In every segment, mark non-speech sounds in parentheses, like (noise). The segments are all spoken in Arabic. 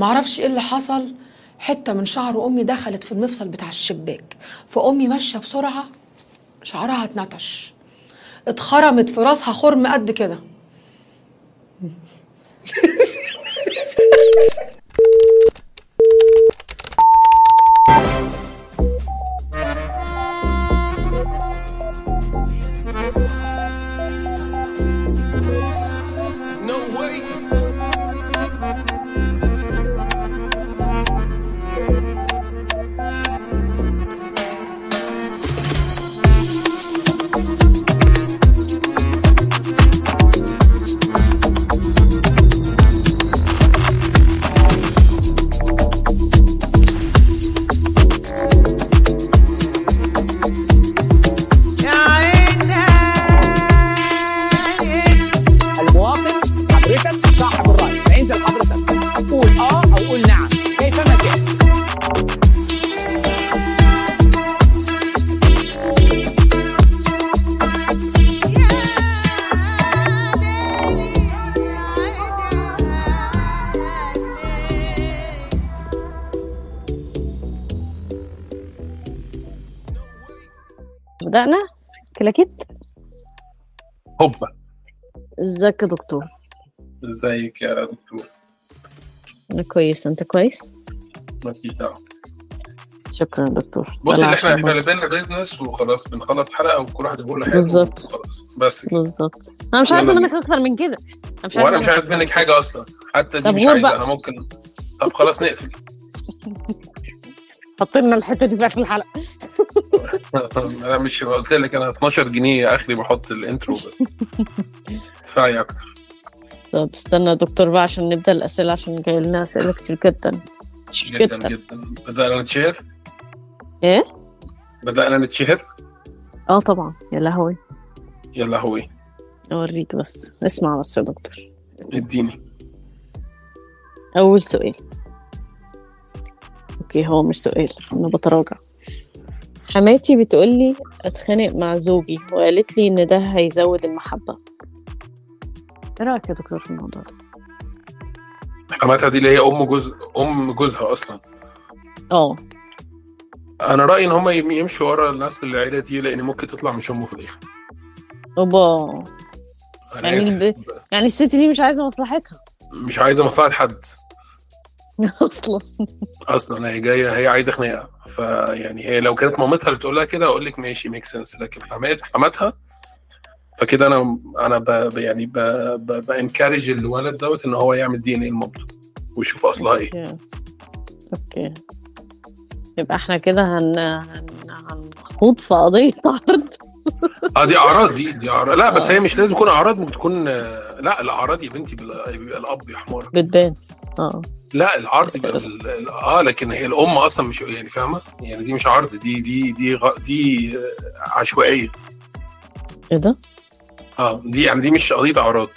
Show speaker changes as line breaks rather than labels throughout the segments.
معرفش ايه اللي حصل حته من شعر امي دخلت في المفصل بتاع الشباك فامي ماشيه بسرعه شعرها اتنتش اتخرمت في راسها خرم قد كده
No way.
المواطن حضرتك صاحب الراي فانزل حضرتك قول اه او قول نعم كيفما شئت
بدأنا كلاكيت
هوبا
ازيك يا دكتور
ازيك يا دكتور
انا كويس انت كويس
مفيش دعوه
شكرا يا دكتور
بص
طلع
اللي احنا
عشان
احنا
برضه.
لدينا بيزنس وخلاص بنخلص حلقه وكل واحد يقول حاجه
بالظبط.
وخلاص. بس كده
بالظبط انا مش
يلا
عايزه
بينا.
منك اكتر من كده انا مش عايزه
وانا مش عايز منك حاجه اصلا حتى دي
طب
مش
غور
عايزه
بقى.
انا ممكن طب خلاص (laughs) نقفل
حط لنا الحته دي في اخر الحلقه
انا مش قلت لك انا 12 جنيه اخري بحط
(laughs)
الانترو بس ادفعي اكتر
طب استنى يا دكتور بقى عشان نبدا الاسئله عشان جاي لنا اسئله كتير جدا كتير
جدا جدا بدانا نتشهر
ايه
بدانا نتشهر
اه طبعا يا لهوي
يا لهوي
اوريك بس اسمع بس يا دكتور
اديني
اول سؤال اوكي هو مش سؤال انا بتراجع حماتي بتقولي اتخانق مع زوجي وقالت لي ان ده هيزود المحبه ايه رايك يا دكتور في الموضوع ده
حماتها دي اللي هي ام جوز ام جوزها اصلا
اه
انا رايي ان هم يمشوا ورا الناس في العيله دي لان ممكن تطلع مش امه في الاخر
اوبا
انا
يعني
آسف.
يعني الست دي مش عايزه مصلحتها (laughs)
مش عايزه مصلحه حد
اصلا
اصلا هي جايه هي عايزه خناقه فيعني يعني هي لو كانت مامتها اللي بتقول لها كده اقول لك ماشي ميك سنس لكن حمات حماتها فكده انا انا ب ب- يعني بانكارج الولد دوت ان هو يعمل دي ان ايه لمامته ويشوف اصلها ايه
اوكي اوكي يبقى احنا كده هن... هن... هنخوض في قضيه عرض
اه دي اعراض دي دي اعراض لا بس هي مش لازم تكون اعراض ممكن تكون آه، لا الاعراض يا بنتي بال- بيبقى الاب يا حمار
بتبان اه
لا العرض بيبقى بال- ال- اه لكن هي الام اصلا مش يعني فاهمه يعني دي مش عرض دي دي دي غ- دي آه، عشوائيه
ايه ده؟
اه دي يعني دي مش قضيه اعراض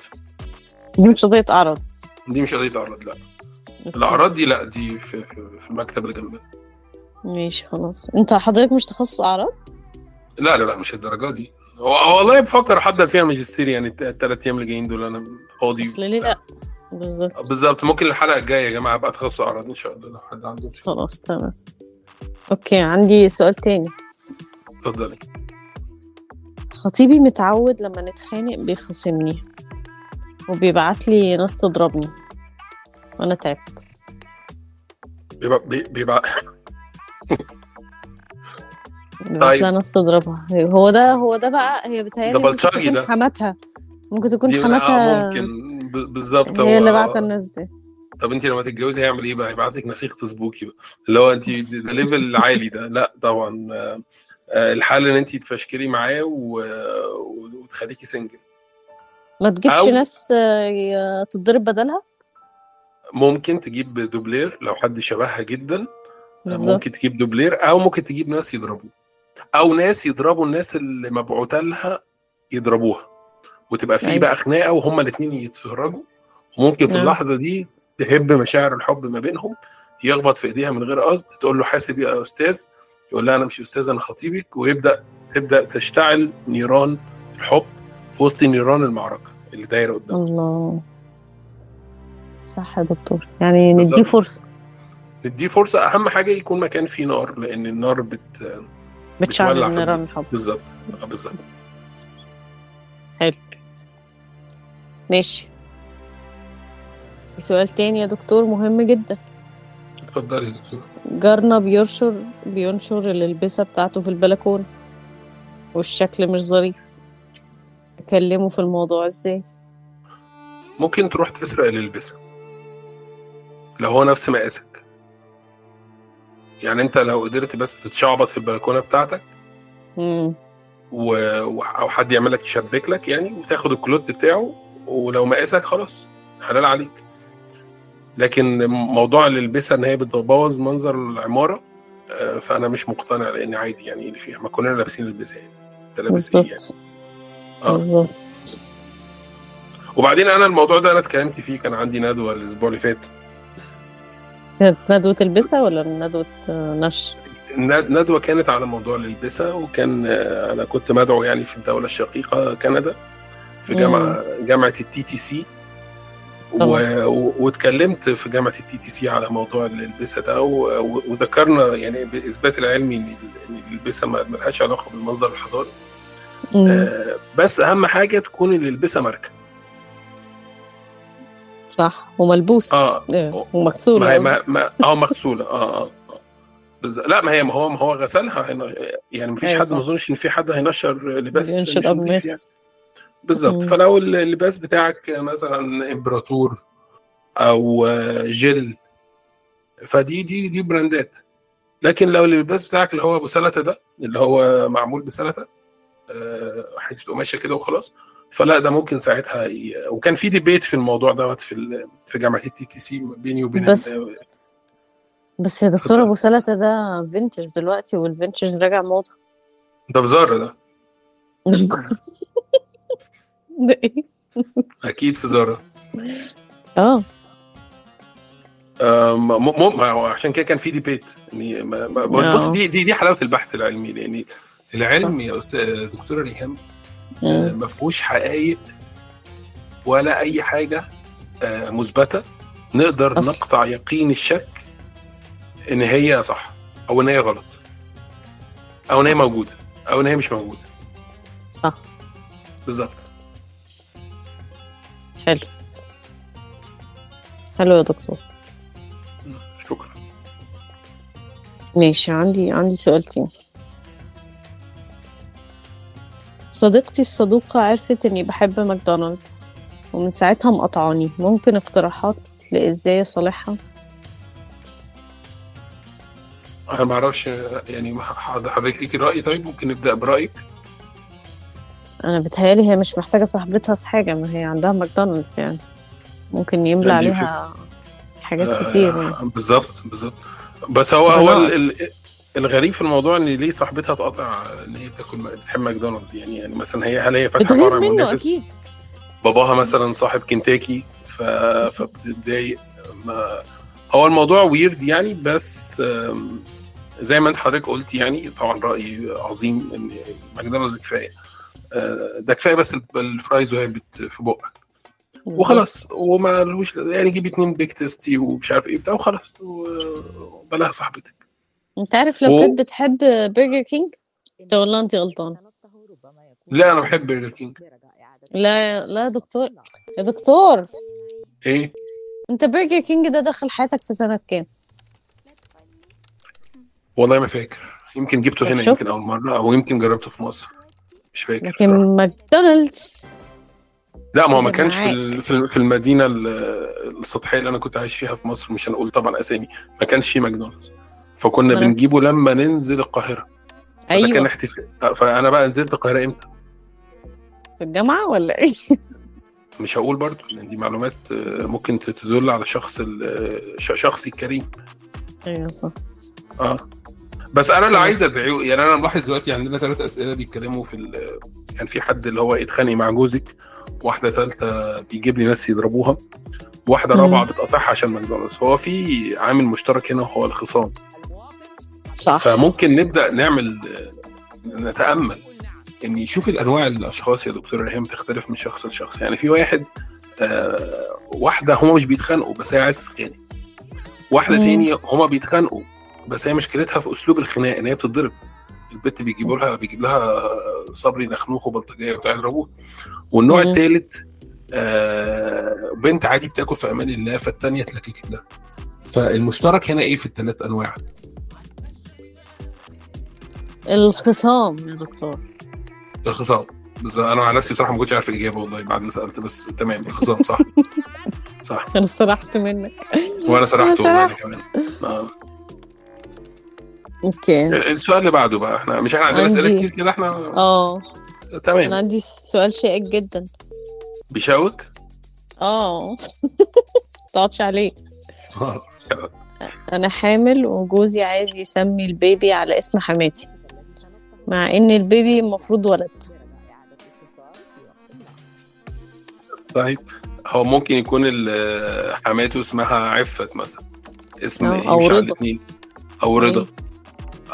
دي مش قضيه عرض
دي مش قضيه اعراض لا الاعراض دي لا دي في, في في المكتب اللي جنبنا
ماشي خلاص انت حضرتك مش تخصص اعراض؟
لا لا لا مش الدرجه دي و- والله بفكر احضر فيها ماجستير يعني الثلاث ايام اللي جايين دول انا فاضي آه،
اصل ليه لا؟ آه، بالظبط
بالظبط ممكن الحلقه الجايه يا جماعه ابقى تخصص اعراض ان شاء الله لو حد عنده مشكلة.
خلاص تمام اوكي عندي سؤال تاني
اتفضلي
خطيبي متعود لما نتخانق بيخاصمني وبيبعت لي ناس تضربني وانا تعبت
بيبقى بي- بيبقى
بيبعت
طيب.
لها ناس تضربها هو ده هو ده بقى هي بتهيألي
ده
ممكن
بلطجي
تكون
ده.
حماتها ممكن
دي
تكون
آه
حماتها
ممكن آه، ب- بالظبط
هي
هو-
اللي بعت الناس دي
طب انت لما تتجوزي هيعمل ايه بقى؟ هيبعت لك نسيخ تسبوكي بقى اللي هو انت ده ليفل عالي ده لا طبعا آه، آه، الحل ان انت تفشكلي معاه و- آه، و- وتخليكي سنجل
ما تجيبش
أو-
ناس آه، ي- تتضرب بدلها
ممكن تجيب دوبلير لو حد شبهها جدا
بالظبط
ممكن تجيب دوبلير او ممكن تجيب ناس يضربوا او ناس يضربوا الناس اللي مبعوتة لها يضربوها وتبقى في
أيوة.
بقى خناقه وهما الاثنين يتفرجوا وممكن في
نعم.
اللحظه دي تهب مشاعر الحب ما بينهم يخبط في ايديها من غير قصد تقول له حاسب يا استاذ يقول لها انا مش استاذ انا خطيبك ويبدا تبدا تشتعل نيران الحب في وسط نيران المعركه اللي دايره قدامها
الله صح يا دكتور يعني
بالظبط.
نديه فرصه
نديه فرصه اهم حاجه يكون مكان فيه نار لان النار بت
بتشعل
بتولع في
النيران الحب
بالظبط آه، بالظبط
ماشي في سؤال تاني يا دكتور مهم جدا
اتفضلي يا دكتور
جارنا بيرشر بينشر الألبسة بتاعته في البلكونة والشكل مش ظريف أكلمه في الموضوع إزاي
ممكن تروح تسرق اللي يلبسها لو هو نفس مقاسك يعني انت لو قدرت بس تتشعبط في البلكونه بتاعتك
مم.
و... و- او حد يعمل لك يشبك لك يعني وتاخد الكلوت بتاعه ولو مقاسك خلاص حلال عليك لكن موضوع اللي يلبسها ان هي بتبوظ منظر العماره آه، فانا مش مقتنع لان عادي يعني إيه اللي فيها ما كلنا لابسين البسها يعني انت لابس ايه يعني
بالظبط
آه.
بالظبط
وبعدين انا الموضوع ده انا اتكلمت فيه كان عندي ندوه الاسبوع اللي فات
كانت ندوة البسة ولا ندوة آه، نشر
ند- ندوه كانت على موضوع الالبسه وكان آه، انا كنت مدعو يعني في الدوله الشقيقه كندا في
مم.
جامعه جامعه التي تي سي
طبعاً.
واتكلمت في جامعه التي تي سي على موضوع الالبسه ده و- و- وذكرنا يعني بالاثبات العلمي ان ال- إن الالبسه ما ما لهاش علاقه بالمنظر الحضاري
مم.
آه، بس اهم حاجه تكون الالبسه ماركه
صح وملبوسة
اه
آه، ومغسولة
ما هي
قصدي.
ما, ما اه مغسوله اه اه آه. بز... لا ما هي ما هو ما هو غسلها هن- يعني ما فيش
أيوة
حد
صح.
ما اظنش ان في حد هينشر لباس
بينشر
مش
قبل ما
نضيف يعني.
يغسل.
بالظبط
مم.
فلو اللباس بتاعك مثلا امبراطور او آه، جل فدي دي دي براندات لكن لو اللباس بتاعك اللي هو ابو سلته ده اللي هو معمول بسلته آه، حته قماشه كده وخلاص فلا ده ممكن ساعتها ي... وكان في ديبيت في الموضوع دوت في ال... في جامعه التي تي سي بيني وبين
بس
ال-
بس يا دكتور
اتفضل.
أبو سلتة ده فينتج دلوقتي والفينتج راجع موضة
ده بزارة ده
ده
(laughs)
إيه؟
اكيد في زارة
اه
آم، آه، م- م- ما هو عشان كده كان في ديبيت يعني ما- ما-
آه.
بص دي دي دي حلاوه البحث العلمي يعني لان العلم يا استاذ دكتوره ريهام آه،
مم.
ما فيهوش حقائق ولا اي حاجه آه، مثبته نقدر
أصل.
نقطع يقين الشك ان هي صح او ان هي غلط او ان هي موجوده او ان هي مش موجوده
صح
بالظبط
حلو حلو يا دكتور
شكرا
ماشي عندي عندي سؤال تاني صديقتي الصدوقة عرفت إني بحب ماكدونالدز ومن ساعتها مقطعاني ممكن اقتراحات لإزاي أصالحها
انا ما اعرفش يعني ح- حضرتك ليكي راي طيب ممكن نبدا برايك
أنا بتهيألي هي مش محتاجة صاحبتها في حاجة ما هي عندها ماكدونالدز يعني ممكن يملى
عندي
عليها حاجات كتير يعني
آه، بالظبط بالظبط بس هو هو
خلاص.
ال- ال- الغريب في الموضوع ان ليه صاحبتها تقطع ان هي بتاكل بتحب ماكدونالدز يعني يعني مثلا هي هل هي فاتحه
بتغير
فرع
منه
منافس
أكيد
باباها مثلا صاحب كنتاكي ف... فبتتضايق ما... هو الموضوع ويرد يعني بس آم، زي ما انت حضرتك قلت يعني طبعا رايي عظيم ان ماكدونالدز كفايه آه، ده كفايه بس الب- الفرايز وهي بت- في بقك وخلاص وما لهوش يعني جيب اتنين بيك تيستي ومش عارف ايه بتاع وخلاص وبلاها صاحبتك
انت عارف لو
و-
كنت بتحب برجر كينج
انت والله انت غلطان
لا انا بحب برجر كينج
لا لا يا دكتور
يا دكتور
ايه
انت برجر كينج ده دخل حياتك في سنة كام؟
والله ما فاكر يمكن جبته هنا
شفت؟
يمكن اول مره او يمكن جربته في مصر مش فاكر بصراحة.
لكن ماكدونالدز
لا ما هو ما
أنا
كانش في
معاك.
ال- في ال- في المدينه ال- السطحيه اللي انا كنت عايش فيها في مصر مش هنقول طبعا اسامي ما كانش في ماكدونالدز فكنا
أنا-
بنجيبه لما ننزل القاهره فده كان
ايوه
احتفال فانا بقى نزلت القاهره امتى
في الجامعة ولا ايه؟
مش هقول برضو لان دي معلومات آه، ممكن تدل على شخص ال- آه، ش- شخصي الكريم
ايوه صح
اه بس انا اللي
آه. بس.
عايز ادعيه يعني انا ملاحظ دلوقتي عندنا ثلاث اسئله بيتكلموا في ال... كان في حد اللي هو اتخانق مع جوزك واحده ثالثه بيجيب لي ناس يضربوها واحده
مم.
رابعه بتقاطعها عشان ماكدونالدز فهو في عامل مشترك هنا وهو الخصام
صح
فممكن نبدا نعمل نتامل ان يشوف الانواع الاشخاص يا دكتور ريهام تختلف من شخص لشخص يعني في واحد آه واحده هما مش بيتخانقوا بس هي عايزه تتخانق واحده
مم.
تاني هما بيتخانقوا بس هي مشكلتها في اسلوب الخناق ان هي بتتضرب البت بيجيبوا لها بيجيب لها صبري نخنوخ وبلطجيه وبتاع يضربوها والنوع
مم.
الثالث آه بنت عادي بتاكل في امان الله فالتانيه اتلككت لها فالمشترك هنا ايه في الثلاث انواع؟
الخصام يا دكتور
الخصام بس انا على نفسي بصراحه ما كنتش عارف الاجابه والله بعد ما سالت بس تمام الخصام
(laughs)
صح صح
انا سرحت منك
وانا سرحته
أنا
والله انا
سرحت.
كمان آه.
اوكي
السؤال اللي بعده بقى احنا مش احنا عندنا
عندي.
اسئله كتير كده احنا
اه انا
تمام
عندي سؤال شائك جدا
بيشاوك
(laughs) اه متقعدش عليه
آه.
انا حامل وجوزي عايز يسمي البيبي على اسم حماتي مع ان البيبي المفروض ولد
طيب هو ممكن يكون ال- حماته اسمها عفت مثلا اسم
أو-
ايه
أو
مش
رضا. أيوه.
على الاتنين او رضا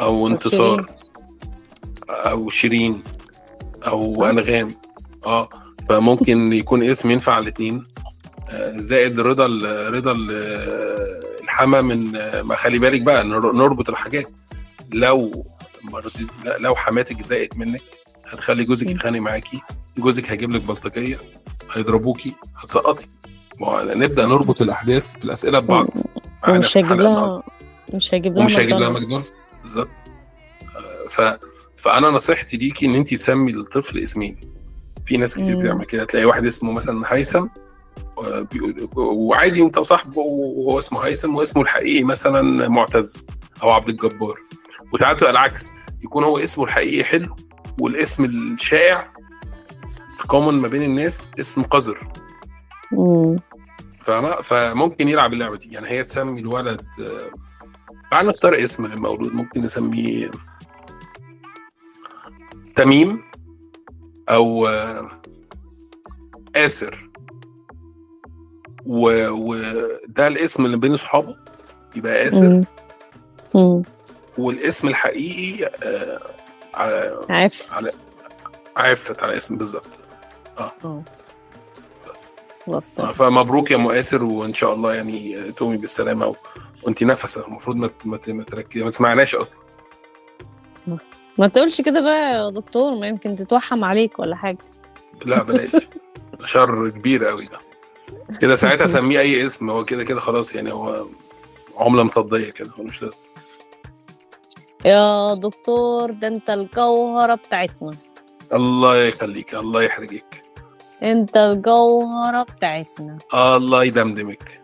او انتصار او شيرين او
صح.
انغام اه فممكن يكون اسم ينفع على الاتنين آه، زائد رضا ال- رضا ال- الحما من ما خلي بالك بقى نر- نربط الحاجات لو مرت- لو حماتك اتضايقت منك هتخلي جوزك
مم.
يتخانق معاكي جوزك هيجيب لك بلطجيه هيضربوكي هتسقطي ما هو نبدا نربط الاحداث بالاسئله ببعض معانا
ومش
في
هيجيب
الحلقة النهاردة.
لها مش هيجيب لها
ومش هيجيب لها
ماكدونالدز.
ماكدونالدز بالظبط آه، ف... فانا نصيحتي ليكي ان انت تسمي الطفل اسمين في ناس كتير
مم.
بتعمل كده تلاقي واحد اسمه مثلا هيثم آه، بيقول- وعادي انت وصاحبه وهو اسمه هيثم واسمه الحقيقي مثلا معتز او عبد الجبار وساعات تبقى العكس يكون هو اسمه الحقيقي حلو والاسم الشائع الكومن ما بين الناس اسم قذر
مم.
فاهمة؟ فممكن يلعب اللعبه دي يعني هي تسمي الولد آه، تعال نختار اسم للمولود ممكن نسميه تميم او آه، آسر و- وده الاسم اللي بين اصحابه يبقى آسر
مم. مم.
والاسم الحقيقي آه، على
عارف
على عفت على اسم بالظبط
خلاص
آه، فمبروك يا مؤاسر وان شاء الله يعني آه، تومي بالسلامه و... وانت نفسه المفروض ما ت- ما ت- ما تركزي ما تسمعناش اصلا
ما تقولش كده بقى يا دكتور ما يمكن تتوحم عليك ولا حاجه
لا بلاش شر كبير قوي ده كده ساعتها سميه اي اسم هو كده كده خلاص يعني هو عمله مصديه كده هو مش لازم
يا دكتور ده انت الجوهره بتاعتنا
الله يخليك الله يحرجك
انت الجوهره بتاعتنا
الله يدمدمك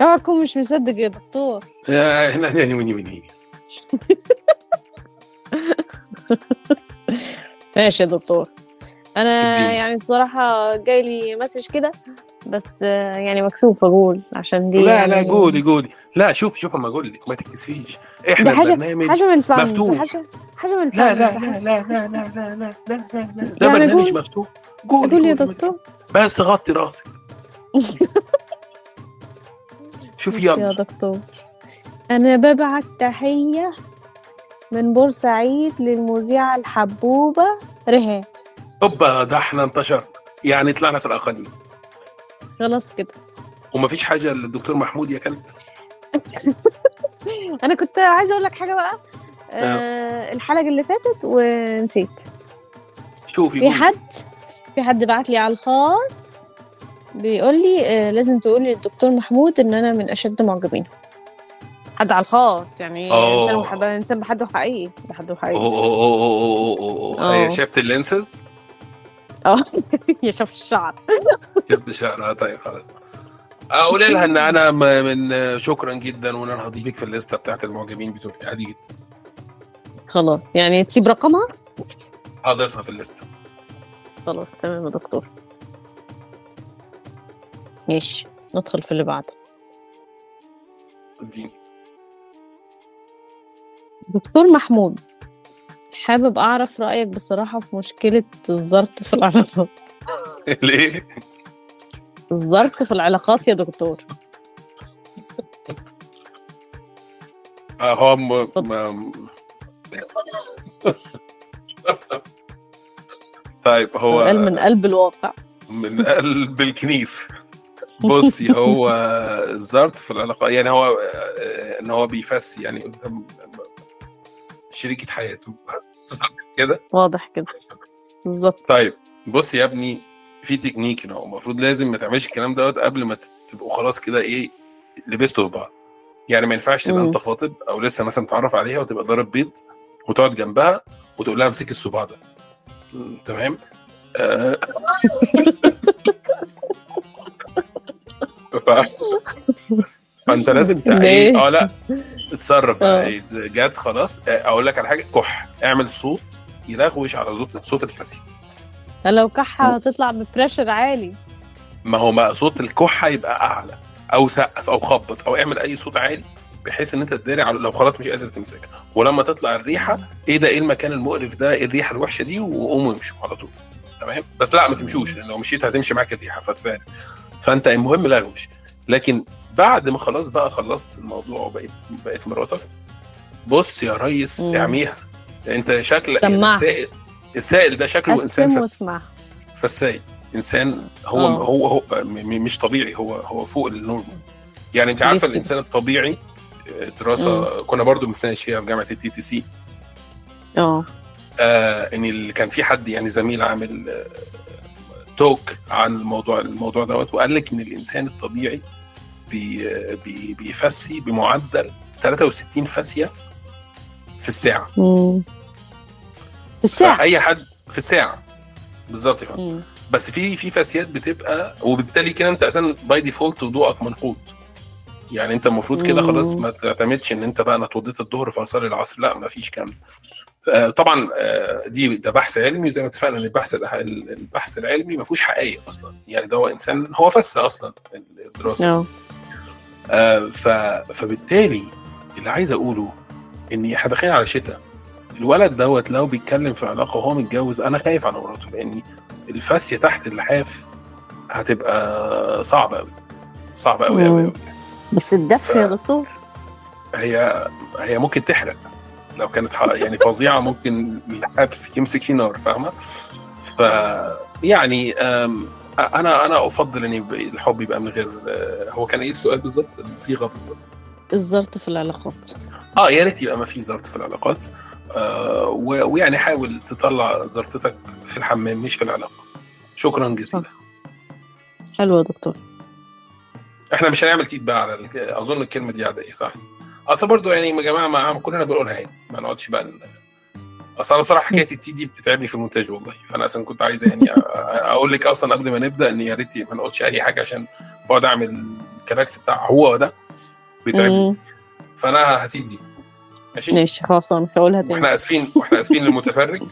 اوعى تكون مش مصدق يا دكتور
يا احنا يعني مني مني
ماشي يا دكتور انا
اديني.
يعني الصراحه جاي لي مسج كده بس آه، يعني مكسوف اقول عشان دي
لا
يعني
لا جولي جولي لا شوف شوف اما اقول لك ما تكسفيش احنا
ده حاجة-
برنامج
حاجه من الفن
مفتوح.
حاجه حاجه من
لا
الفن
لا لا لا لا لا لا لا لا لا ده
يعني
برنامج
قول-
مفتوح قولي
قول يا
قولي، ما
دكتور
بس غطي
(laughs)
راسك شوف
بص يا
يلا
دكتور انا ببعت تحيه من بورسعيد للمذيعه الحبوبه رها
اوبا ده احنا انتشرنا يعني طلعنا في الاقاليم
خلاص كده
ومفيش حاجه للدكتور محمود يا كلب
انا كنت عايزه اقول لك حاجه بقى آه الحلقه اللي فاتت ونسيت
شوف
في
يقول
حد في حد بعت لي على الخاص بيقول لي آه، لازم تقولي للدكتور محمود ان انا من اشد معجبينه حد على الخاص يعني
أوه.
انسان وحب- انسان بحده حقيقي بحده
أوه،
حقيقي
أوه، أوه، أوه، أوه، أوه.
آه.
أي، شافت اللينسز
اه (laughs) يا شاف الشعر
شافت شعرها طيب خلاص اقول لها ان انا م- من شكرا جدا وان انا هضيفك في الليسته بتاعت المعجبين بتوعي عادي جدا
خلاص يعني تسيب رقمها
هضيفها في الليسته
خلاص تمام يا دكتور ماشي ندخل في اللي بعده
اديني (laughs)
دكتور محمود حابب اعرف رايك بصراحه في مشكله الزرط في العلاقات
ليه؟
الزرط في العلاقات يا دكتور
آه، هو م... م... طيب هو طيب،
سؤال من قلب الواقع
من قلب الكنيف بصي هو الزرط في العلاقه يعني هو آه، ان هو بيفسي يعني قدام شريكه حياته كده
واضح كده بالظبط
طيب بص يا ابني في تكنيك هنا المفروض لازم ما تعملش الكلام دوت قبل ما تبقوا خلاص كده ايه لبستوا في بعض يعني ما ينفعش تبقى
مم.
انت خاطب او لسه مثلا متعرف عليها وتبقى ضارب بيض وتقعد جنبها وتقول لها امسكي الصباع ده مم، تمام آه. (laughs) ف- فانت لازم تع- إيه، اه لا اتصرف بقى
آه.
إيه، جت خلاص آه، اقول لك على حاجه كح اعمل صوت يلغوش على صوت صوت الفسيح
لو كحه هتطلع ببريشر عالي
ما هو ما صوت الكحه يبقى اعلى او سقف او خبط او اعمل اي صوت عالي بحيث ان انت تداري على لو خلاص مش قادر تمسكها ولما تطلع الريحه ايه ده ايه المكان المقرف ده ايه الريحه الوحشه دي وقوموا امشوا على طول تمام بس لا ما تمشوش لان لو مشيت هتمشي معاك الريحه فتبان فانت المهم لغوش لكن بعد ما خلاص بقى خلصت الموضوع وبقيت بقيت مراتك بص يا ريس
مم.
اعميها انت شكلك
سمعها.
السائل السائل ده شكله انسان
قسم
فس
واسمع
فساي انسان هو
آه.
هو هو م- م- مش طبيعي هو هو فوق النورمال يعني انت عارفه
بيفسد.
الانسان الطبيعي آه، دراسه كنا برضو بنتناقش فيها في جامعه البي تي سي
اه
آه ان ال- كان في حد يعني زميل عامل آه، توك عن الموضوع الموضوع دوت وقال لك ان الانسان الطبيعي بي آه، بي بيفسي بمعدل 63 فاسيه في الساعه
مم. في الساعه
اي حد في الساعه بالظبط يا فندم.
مم.
بس في في فاسيات بتبقى وبالتالي كده انت اساسا باي ديفولت وضوءك منقوط يعني انت المفروض كده
مم.
خلاص ما تعتمدش ان انت بقى انا اتوضيت الظهر فاصلي العصر لا ما فيش كام طبعا آه، دي ده بحث علمي زي ما اتفقنا ان البحث الح- البحث العلمي ما فيهوش حقائق اصلا يعني ده هو انسان هو فس اصلا الدراسه
اه
آه، ف... فبالتالي اللي عايز اقوله ان احنا داخلين على شتاء الولد دوت لو بيتكلم في علاقه وهو متجوز انا خايف على مراته لان الفاسيه تحت اللحاف هتبقى صعبه قوي صعبه قوي قوي قوي
بس الدف يا دكتور
هي هي ممكن تحرق لو كانت ح- يعني فظيعه ممكن اللحاف يمسك فيه نار فاهمه ف يعني أم، انا انا افضل ان يبقى الحب يبقى من غير أه، هو كان ايه السؤال بالظبط الصيغه بالظبط
الزرط في العلاقات
اه يا ريت يبقى ما في زرط في العلاقات آه و- ويعني حاول تطلع زرطتك في الحمام مش في العلاقه شكرا جزيلا
حلو يا دكتور
احنا مش هنعمل تيت بقى على ال- اظن الكلمه دي عاديه صح اصل برضو يعني يا جماعه ما كلنا بنقولها يعني ما نقعدش بقى ن- اصل انا بصراحه حكايه التيت دي بتتعبني في المونتاج والله انا اصلا كنت عايز يعني أ- أ- اقول لك اصلا قبل ما نبدا ان يا ريت ما نقولش اي حاجه عشان بقعد اعمل الكلاكس بتاع هو ده بيتعبني
مم.
فانا هسيب دي ماشي
ماشي خلاص انا مش هقولها تاني
واحنا اسفين واحنا اسفين للمتفرج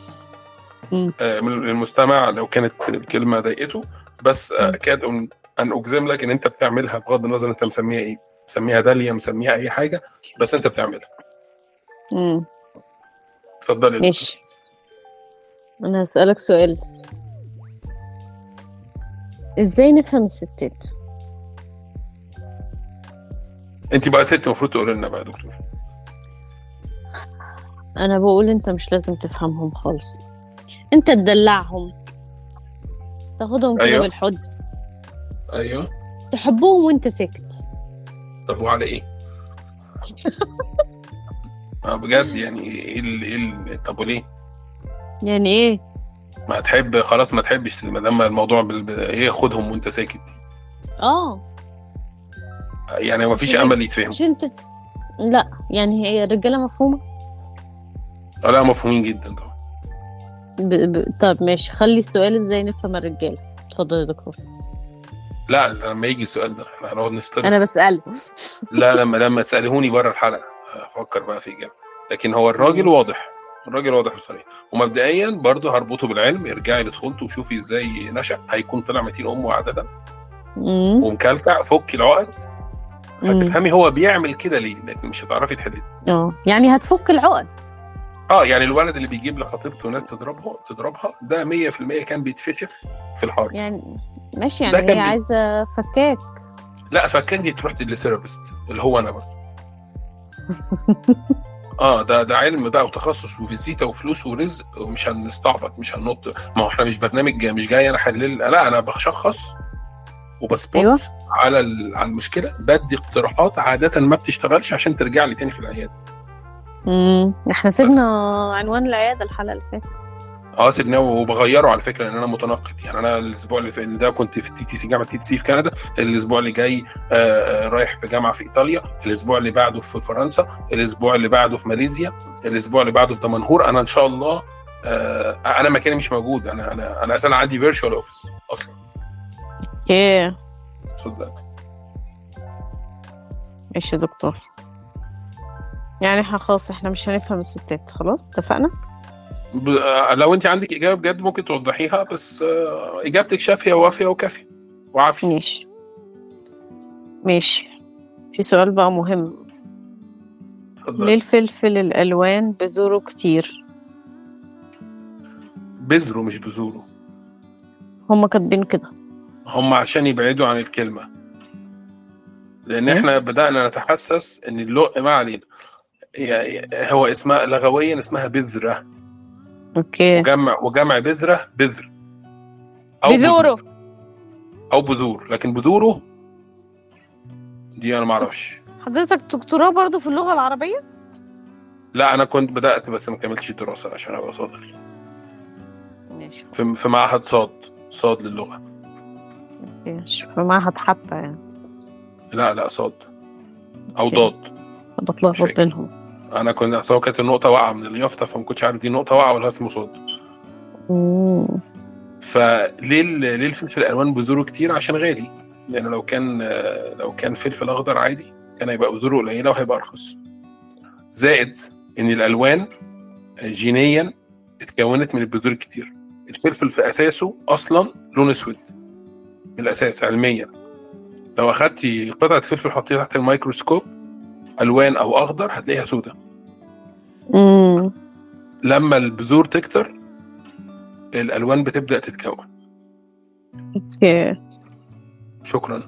مم.
آه، من المستمع لو كانت الكلمه ضايقته بس آه، اكاد ان أن اجزم لك ان انت بتعملها بغض النظر انت مسميها ايه مسميها داليا مسميها اي حاجه بس انت بتعملها
مم.
اتفضلي يا
ماشي انا هسألك سؤال ازاي نفهم الستات
دكتور. انت بقى ست المفروض تقول لنا بقى يا دكتور
انا بقول انت مش لازم تفهمهم خالص انت تدلعهم تاخدهم كده
أيوة.
أيوة. بالحضن
ايوه
تحبهم وانت ساكت
طب وعلى ايه؟ آه، بجد يعني ايه ال- ايه ال- طب وليه؟
يعني ايه
ما هتحب خلاص ما تحبش ما دام الموضوع بال... بال- ايه خدهم وانت ساكت
اه
يعني ما فيش امل يتفهم
مش انت لا يعني هي الرجاله مفهومه
آه، لا مفهومين جدا طبعا
ب... ب... طب ماشي خلي السؤال ازاي نفهم الرجاله اتفضل يا دكتور
لا لما يجي السؤال ده احنا هنقعد نفترض
انا بساله
لا لما لما تسالهوني بره الحلقه هفكر بقى في اجابه لكن هو الراجل
ماشي.
واضح الراجل واضح وصريح ومبدئيا برضه هربطه بالعلم ارجعي لطفولته وشوفي ازاي نشا هيكون طلع متين امه عاده
مم.
ومكلكع فكي العقد
مم.
هتفهمي هو بيعمل كده ليه لكن مش هتعرفي تحليه
اه يعني هتفك العقد
اه يعني الولد اللي بيجيب لخطيبته ناس تضربه تضربها ده 100% كان بيتفسخ في الحرب
يعني ماشي
ده
يعني
كان
هي
بي-
عايزه فكاك
لا فكان دي تروح للثيرابيست اللي هو انا برضه اه ده ده علم بقى وتخصص وفيزيتا وفلوس ورزق ومش هنستعبط مش هننط ما هو احنا مش برنامج جاي مش جاي انا احلل لا انا بشخص وبسبوت
أيوة.
على ال- على المشكله بدي اقتراحات عاده ما بتشتغلش عشان ترجع لي تاني في العياده
امم احنا سيبنا عنوان العياده الحلقه اللي فاتت
اه سيبناه وبغيره على فكره لان انا متناقض يعني انا الاسبوع اللي فات ده كنت في التي تي سي جامعه تي تي سي في كندا الاسبوع اللي جاي آه، آه، رايح في جامعه في ايطاليا الاسبوع اللي بعده في فرنسا الاسبوع اللي بعده في ماليزيا الاسبوع اللي بعده في دمنهور انا ان شاء الله آه، انا مكاني مش موجود انا انا انا اصلا عندي فيرتشوال اوفيس اصلا
اوكي
صدق
ماشي يا دكتور يعني احنا خلاص احنا مش هنفهم الستات خلاص اتفقنا
ب- آه، لو انت عندك اجابه بجد ممكن توضحيها بس آه، اجابتك شافيه ووافيه وكافيه وعافيه
ماشي ماشي في سؤال بقى مهم ليه
اتفضلي.
الفلفل الالوان بذوره كتير
بذره مش بذوره
هما كاتبين كده
هم عشان يبعدوا عن الكلمة لأن احنا بدأنا نتحسس إن اللق ما علينا يعني هو اسمها لغويا اسمها بذرة
اوكي
وجمع وجمع بذرة بذر أو
بذوره.
بذور. أو بذور لكن بذوره دي أنا معرفش
حضرتك دكتوراه برضو في اللغه العربيه
لا أنا كنت بدأت بس ما كملتش الدراسة عشان أبقى صادق
ماشي
في, في معهد صاد صاد للغة
مش في معهد حتى يعني
لا لا صاد أو
أوكي.
ضاد مش
بتلخبط
فاكر.
بينهم
أنا كنت أصل هو كانت النقطة واقعة من اليافطة فما كنتش عارف دي نقطة واقعة ولا اسمه صاد
مم.
فليه ال- ليه الفلفل الالوان بذوره كتير عشان غالي لان لو كان لو كان فلفل اخضر عادي كان هيبقى بذوره قليله وهيبقى ارخص زائد ان الالوان جينيا اتكونت من البذور الكتير الفلفل في اساسه اصلا لون اسود من الاساس علميا لو اخدتي قطعه فلفل حطيتها تحت الميكروسكوب الوان او اخضر هتلاقيها سودة
مم.
لما البذور تكتر الالوان بتبدا تتكون
اوكي
شكرا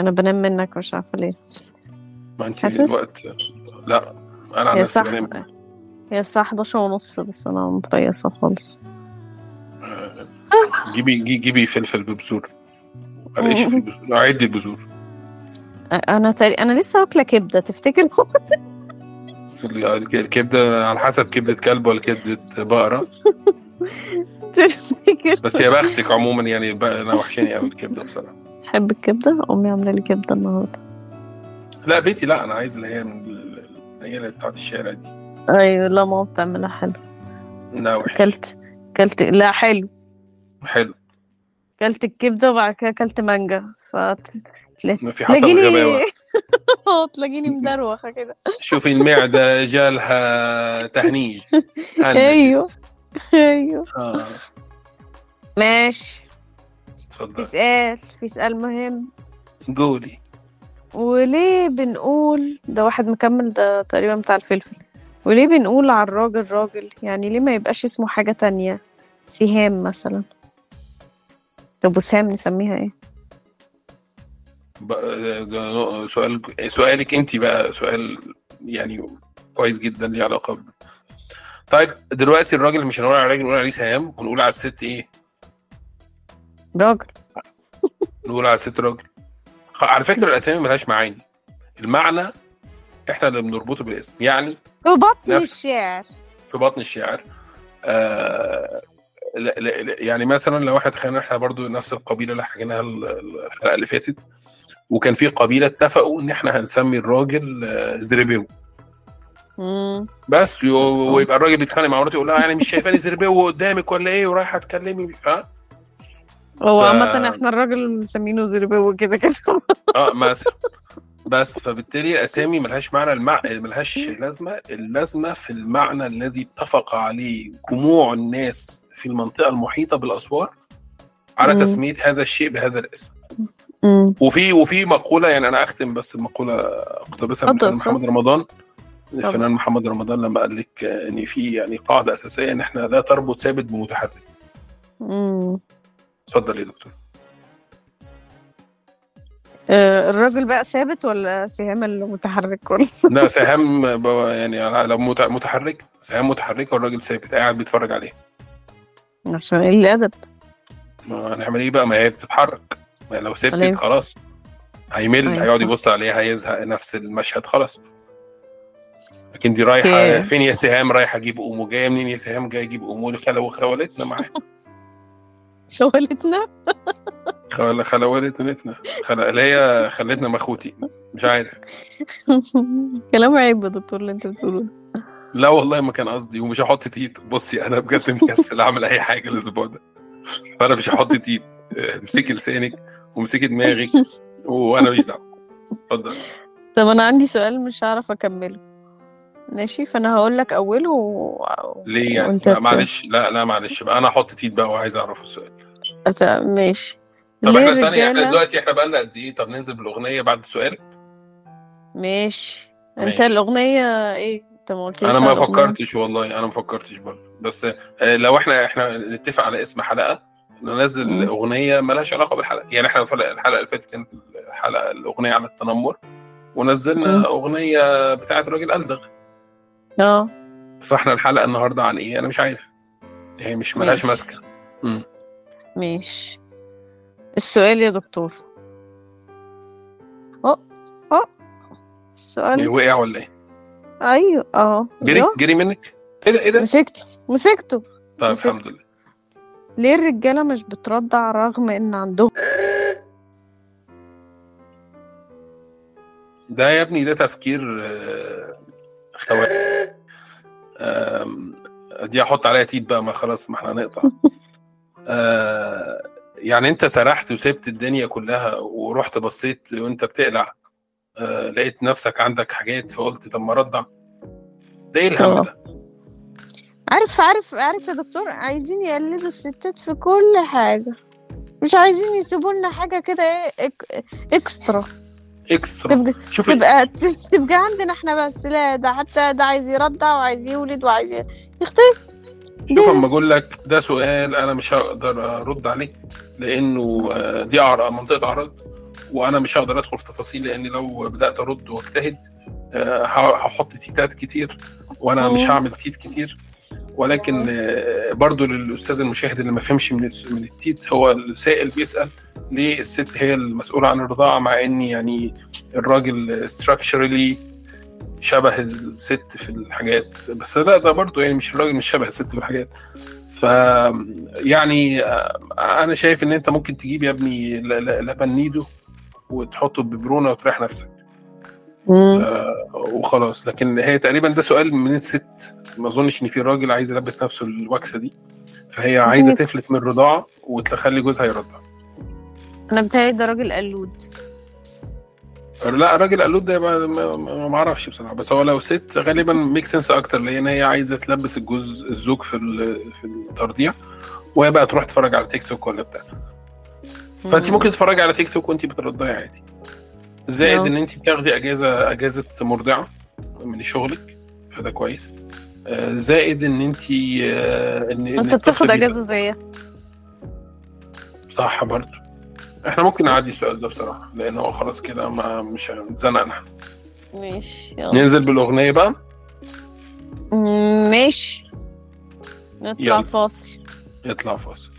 انا بنام منك مش عارفه ليه
ما انت
حاسس؟
الوقت لا انا عن
هي
نفسي
صح
بنام
هي الساعه 11 ونص بس انا مفيصه خالص
آه، جيبي جي- جيبي فلفل ببذور معلش
(laughs)
في البذور اعدي البذور
أ- انا تقري... انا لسه واكله كبده تفتكر (laughs)
ال- الكبده على حسب كبده كلب ولا كبده بقره
تفتكر
بس يا بختك عموما يعني بقى- انا وحشاني قوي الكبده بصراحه
بحب الكبده امي عامله لي كبده النهارده
لا بيتي لا انا عايز اللي هي من ال- اللي هي بتاعت الشارع دي
ايوه لا ماما بتعملها حلو
لا وحش
اكلت اكلت لا حلو
حلو
اكلت الكبده وبعد كده اكلت مانجا فت...
في حسب الغباوه
تلاقيني (laughs) اه تلاقيني مدروخه كده
شوفي المعده جالها تهنيج هنج.
ايوه ايوه
آه،
ماشي في
اتفضل
سؤال في سؤال مهم
قولي
وليه بنقول ده واحد مكمل ده تقريبا بتاع الفلفل وليه بنقول على الراجل راجل يعني ليه ما يبقاش اسمه حاجة تانية سهام مثلا طب وسهام نسميها ايه
بقى- ده آه، سؤال يعني سؤالك انت بقى سؤال يعني كويس جدا ليه علاقه ب- طيب دلوقتي الراجل مش هنقول على الراجل نقول عليه سهام ونقول على الست ايه؟
راجل
نقول على الست راجل خ- على فكره الاسامي ملهاش معاني المعنى احنا اللي بنربطه بالاسم يعني
في بطن
نفس-
الشعر
في بطن الشعر آه لا لا لا يعني مثلا لو احنا تخيلنا احنا برضو نفس القبيله اللي حكيناها ال- ال- الحلقه اللي فاتت وكان في قبيله اتفقوا ان احنا هنسمي الراجل آه، زريبيو
مم.
بس
آه.
يو- ويبقى الراجل بيتخانق مع مراته يقول لها يعني مش شايفاني زربيه قدامك ولا ايه ورايحه تكلمي ها
هو
ف-
عامة احنا الراجل مسمينه زربو كده كده
اه مثلا بس فبالتالي الاسامي ملهاش معنى المع... ملهاش لازمه اللازمه في المعنى الذي اتفق عليه جموع الناس في المنطقه المحيطه بالاسوار على
مم.
تسميه هذا الشيء بهذا الاسم
(laughs) مم.
وفي وفي مقوله يعني انا اختم بس المقوله اقتبسها من
اتفضل،
الفنان محمد
اتفضل.
رمضان الفنان محمد رمضان لما قال لك آه، ان في يعني قاعده اساسيه ان احنا لا تربط ثابت بمتحرك
مم.
اتفضل يا دكتور
آه، الراجل بقى ثابت ولا سهام المتحرك (laughs) ولا
لا سهام ب- يعني لو مت- متحرك سهام متحركه والراجل ثابت قاعد بيتفرج عليه
عشان قلة أدب
ما هنعمل ايه بقى ما هي بتتحرك يعني لو
عليه.
سبتت خلاص هيمل
أيوة
هيقعد
صح.
يبص عليها هيزهق نفس المشهد خلاص لكن دي رايحه
أوكي.
فين يا سهام رايحه اجيب قوم وجايه منين يا سهام جايه اجيب قوم وخلو خولتنا معاها
شغلتنا (laughs)
خل- خلولتنا خل... اللي هي خلتنا مخوتي مش عارف
كلام عيب يا دكتور اللي انت بتقوله ده
لا والله ما كان قصدي ومش هحط تيت بصي انا بجد مكسل اعمل اي حاجه الاسبوع ده فانا مش هحط تيت امسكي لسانك وامسكي دماغك وانا ماليش دعوه اتفضل
طب انا عندي سؤال مش هعرف اكمله ماشي فانا هقول لك اوله و...
ليه يعني
وانت
لا،
بت-
معلش لا لا معلش بقى انا هحط تيت بقى وعايز اعرف السؤال
أت- ماشي
طب
ليه
احنا ثانيه احنا
الرجالة-
دلوقتي احنا بقى لنا قد ايه طب ننزل بالاغنيه بعد السؤال
ماشي انت
ماشي.
الاغنيه ايه انت ما قلتليش
انا ما
على الأغنية.
فكرتش والله انا ما فكرتش برضه بس آه، لو احنا احنا نتفق على اسم حلقه ننزل
مم.
اغنيه مالهاش علاقه بالحلقه يعني احنا في الحلقه اللي فاتت كانت الحلقه الاغنيه عن التنمر ونزلنا
مم.
اغنيه بتاعه راجل الدغ
اه
فاحنا الحلقه النهارده عن ايه انا مش عارف هي مش مالهاش
ماشي.
ماسكه
ماشي السؤال يا دكتور اه اه
هي
السؤال
وقع ولا ايه
ايوه اه
جري
أيوه.
جري منك ايه ده ايه ده
مسكته مسكته
طيب
مسكت.
الحمد لله
ليه الرجاله مش بترضع رغم ان عندهم
ده يا ابني ده تفكير آه، خواجه آم، دي احط عليها تيت بقى ما خلاص ما احنا هنقطع آه، يعني انت سرحت وسبت الدنيا كلها ورحت بصيت وانت بتقلع آه، لقيت نفسك عندك حاجات فقلت طب ما ردع ده ايه الهم
آه.
ده؟
عارف عارف عارف يا دكتور عايزين يقلدوا الستات في كل حاجه مش عايزين يسيبوا لنا حاجه كده ايه إك... اكسترا
إيه اكسترا
تبقى
شوف
تبقى تبقى عندنا احنا بس لا ده حتى ده عايز يرضع وعايز يولد وعايز ي- يختلف
شوف اما اقول لك ده سؤال انا مش هقدر ارد عليه لانه آه، دي أعر- منطقه اعراض وانا مش هقدر ادخل في تفاصيل لان لو بدات ارد واجتهد آه، ه- هحط تيتات كتير وانا مش هعمل تيت كتير ولكن آه، برضو للاستاذ المشاهد اللي ما فهمش من الس- من التيت هو السائل بيسال ليه الست هي المسؤوله عن الرضاعه مع ان يعني الراجل ستراكشرلي شبه الست في الحاجات بس لا ده برضو يعني مش الراجل مش شبه الست في الحاجات ف يعني آه، انا شايف ان انت ممكن تجيب يا ابني ل- ل- لبن نيدو وتحطه ببرونه وتريح نفسك وخلاص لكن هي تقريبا ده سؤال من الست ما اظنش ان في راجل عايز يلبس نفسه الوكسه دي فهي عايزه
مم.
تفلت من الرضاعه وتخلي جوزها يرضع
انا بتهيألي ده راجل قلود
لا راجل قالوت ده يبقى ما- ما ما اعرفش بصراحه بس هو لو ست غالبا ميك سنس اكتر لان هي عايزه تلبس الجوز الزوج في ال- في الترضيع وهي بقى تروح تتفرج على تيك توك ولا بتاع فانت ممكن تتفرجي على تيك توك وانت بترضعي عادي زائد
نعم.
ان انت بتاخدي اجازه اجازه مرضعه من شغلك فده كويس آه، زائد ان انت آه، ان إن
انت
الطفل
بتاخد
بيبقى-
اجازه زيها
صح برضه احنا ممكن نعدي السؤال ده بصراحه لان هو خلاص كده ما مش هنتزنقنا
ماشي يلا
ننزل بالاغنيه بقى
مم، ماشي
يلا.
نطلع فاصل
يطلع فاصل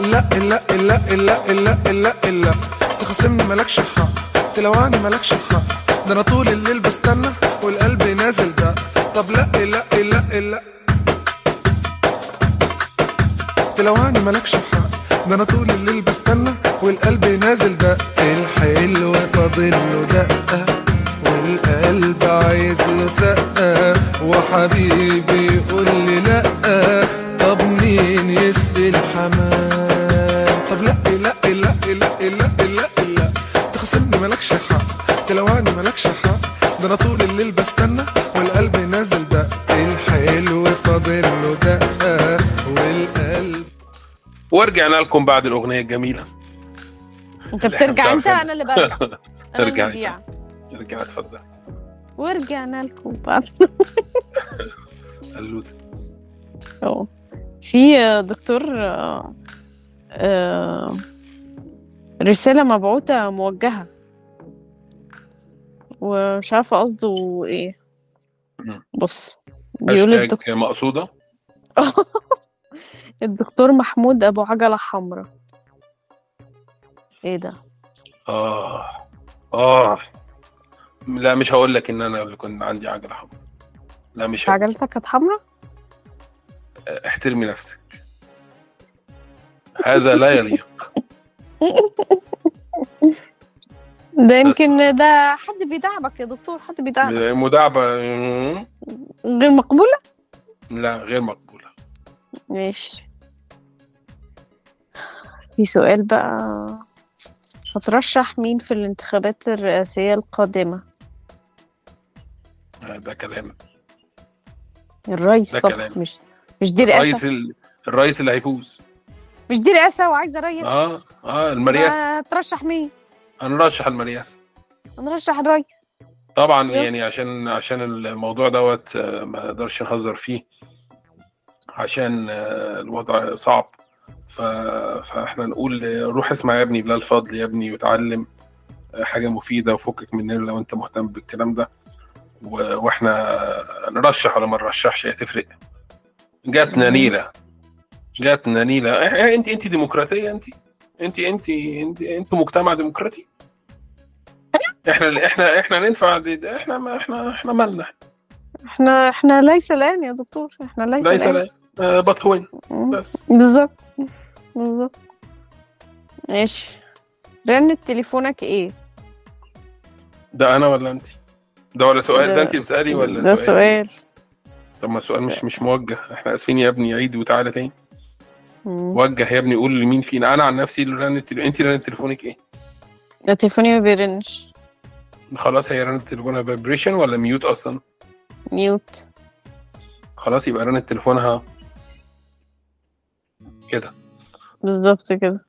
لا لا لا لا لا لا لا تخاصمني مالكش حق تلوعني مالكش حق ده انا طول الليل بستنى والقلب نازل ده طب لا لا لا لا تلوعني مالكش حق ده انا طول الليل بستنى والقلب نازل ده الحلو فاضله دقه والقلب عايز له سقه وحبيبي يقول لي لا طب مين يسقي الحمام طب لا لا لا لا لا لا لا تخصمني مالكش حق تلوعني مالكش حق ده انا طول الليل بستنى والقلب نازل ده الحلو فاضله دقه والقلب
ورجعنا لكم بعد الاغنيه الجميله
انت
اللي إحنا مش
بترجع انت
عارفينها.
انا اللي
(laughs)
برجع انا
ارجعي.
المذيعه
ارجع اتفضل
ورجعنا لكم بعد
قالوا
اه في آه، دكتور آه، آه، رسالة مبعوثة موجهة ومش عارفة قصده إيه. ايه
مم.
بص بيقول
هاشتاج
الدكتور
مقصوده
الدكتور محمود ابو عجله حمراء ايه ده
اه اه لا مش هقول لك ان انا اللي كنت عندي عجله حمراء لا مش هقول.
عجلتك كانت حمراء
احترمي نفسك هذا لا يليق
ده يمكن ده حد بيدعبك يا دكتور حد بيدعبك
مداعبه
غير مقبوله
لا غير مقبوله
ماشي في سؤال بقى هترشح مين في الانتخابات الرئاسيه القادمه
آه، ده كلام
الرئيس
ده
طبعا
كلام.
مش مش دي
الرئيس
رئاسه
ال... الرئيس اللي هيفوز
مش دي رئاسه وعايزه رئيس
اه اه المرياسه
ترشح مين
انا رشح المرياسه
هنرشح الرئيس
طبعا
يلا.
يعني عشان عشان الموضوع دوت آه، ما نقدرش نهزر فيه عشان آه، الوضع صعب ف... فاحنا نقول آه، روح اسمع يا ابني بلا الفضل يا ابني وتعلم آه، حاجه مفيده وفكك مننا لو انت مهتم بالكلام ده و... واحنا نرشح ولا ما نرشحش هي تفرق جاتنا نيله جاتنا نيله إح- إح- انت انت ديمقراطيه انت انت انت انت انت مجتمع ديمقراطي احنا احنا احنا ننفع دي- ده احنا ما احنا احنا مالنا
احنا احنا ليس الان يا دكتور احنا ليس,
ليس
الان
لا آه، بطهوين بس
بالظبط بالظبط ماشي رنة تليفونك ايه؟
ده انا ولا انت ده ولا سؤال ده,
ده-
انت بتسالي ولا
ده سؤال
طب ما السؤال مش مش موجه احنا اسفين يا ابني عيد وتعالى تاني
مم.
وجه يا ابني قول لمين فينا انا عن نفسي اللي رن التليفون انت رن تليفونك ايه
ده تليفوني ما بيرنش
خلاص هي رن تليفونها فايبريشن ولا ميوت اصلا
ميوت
خلاص يبقى رن تليفونها
بالظبط كده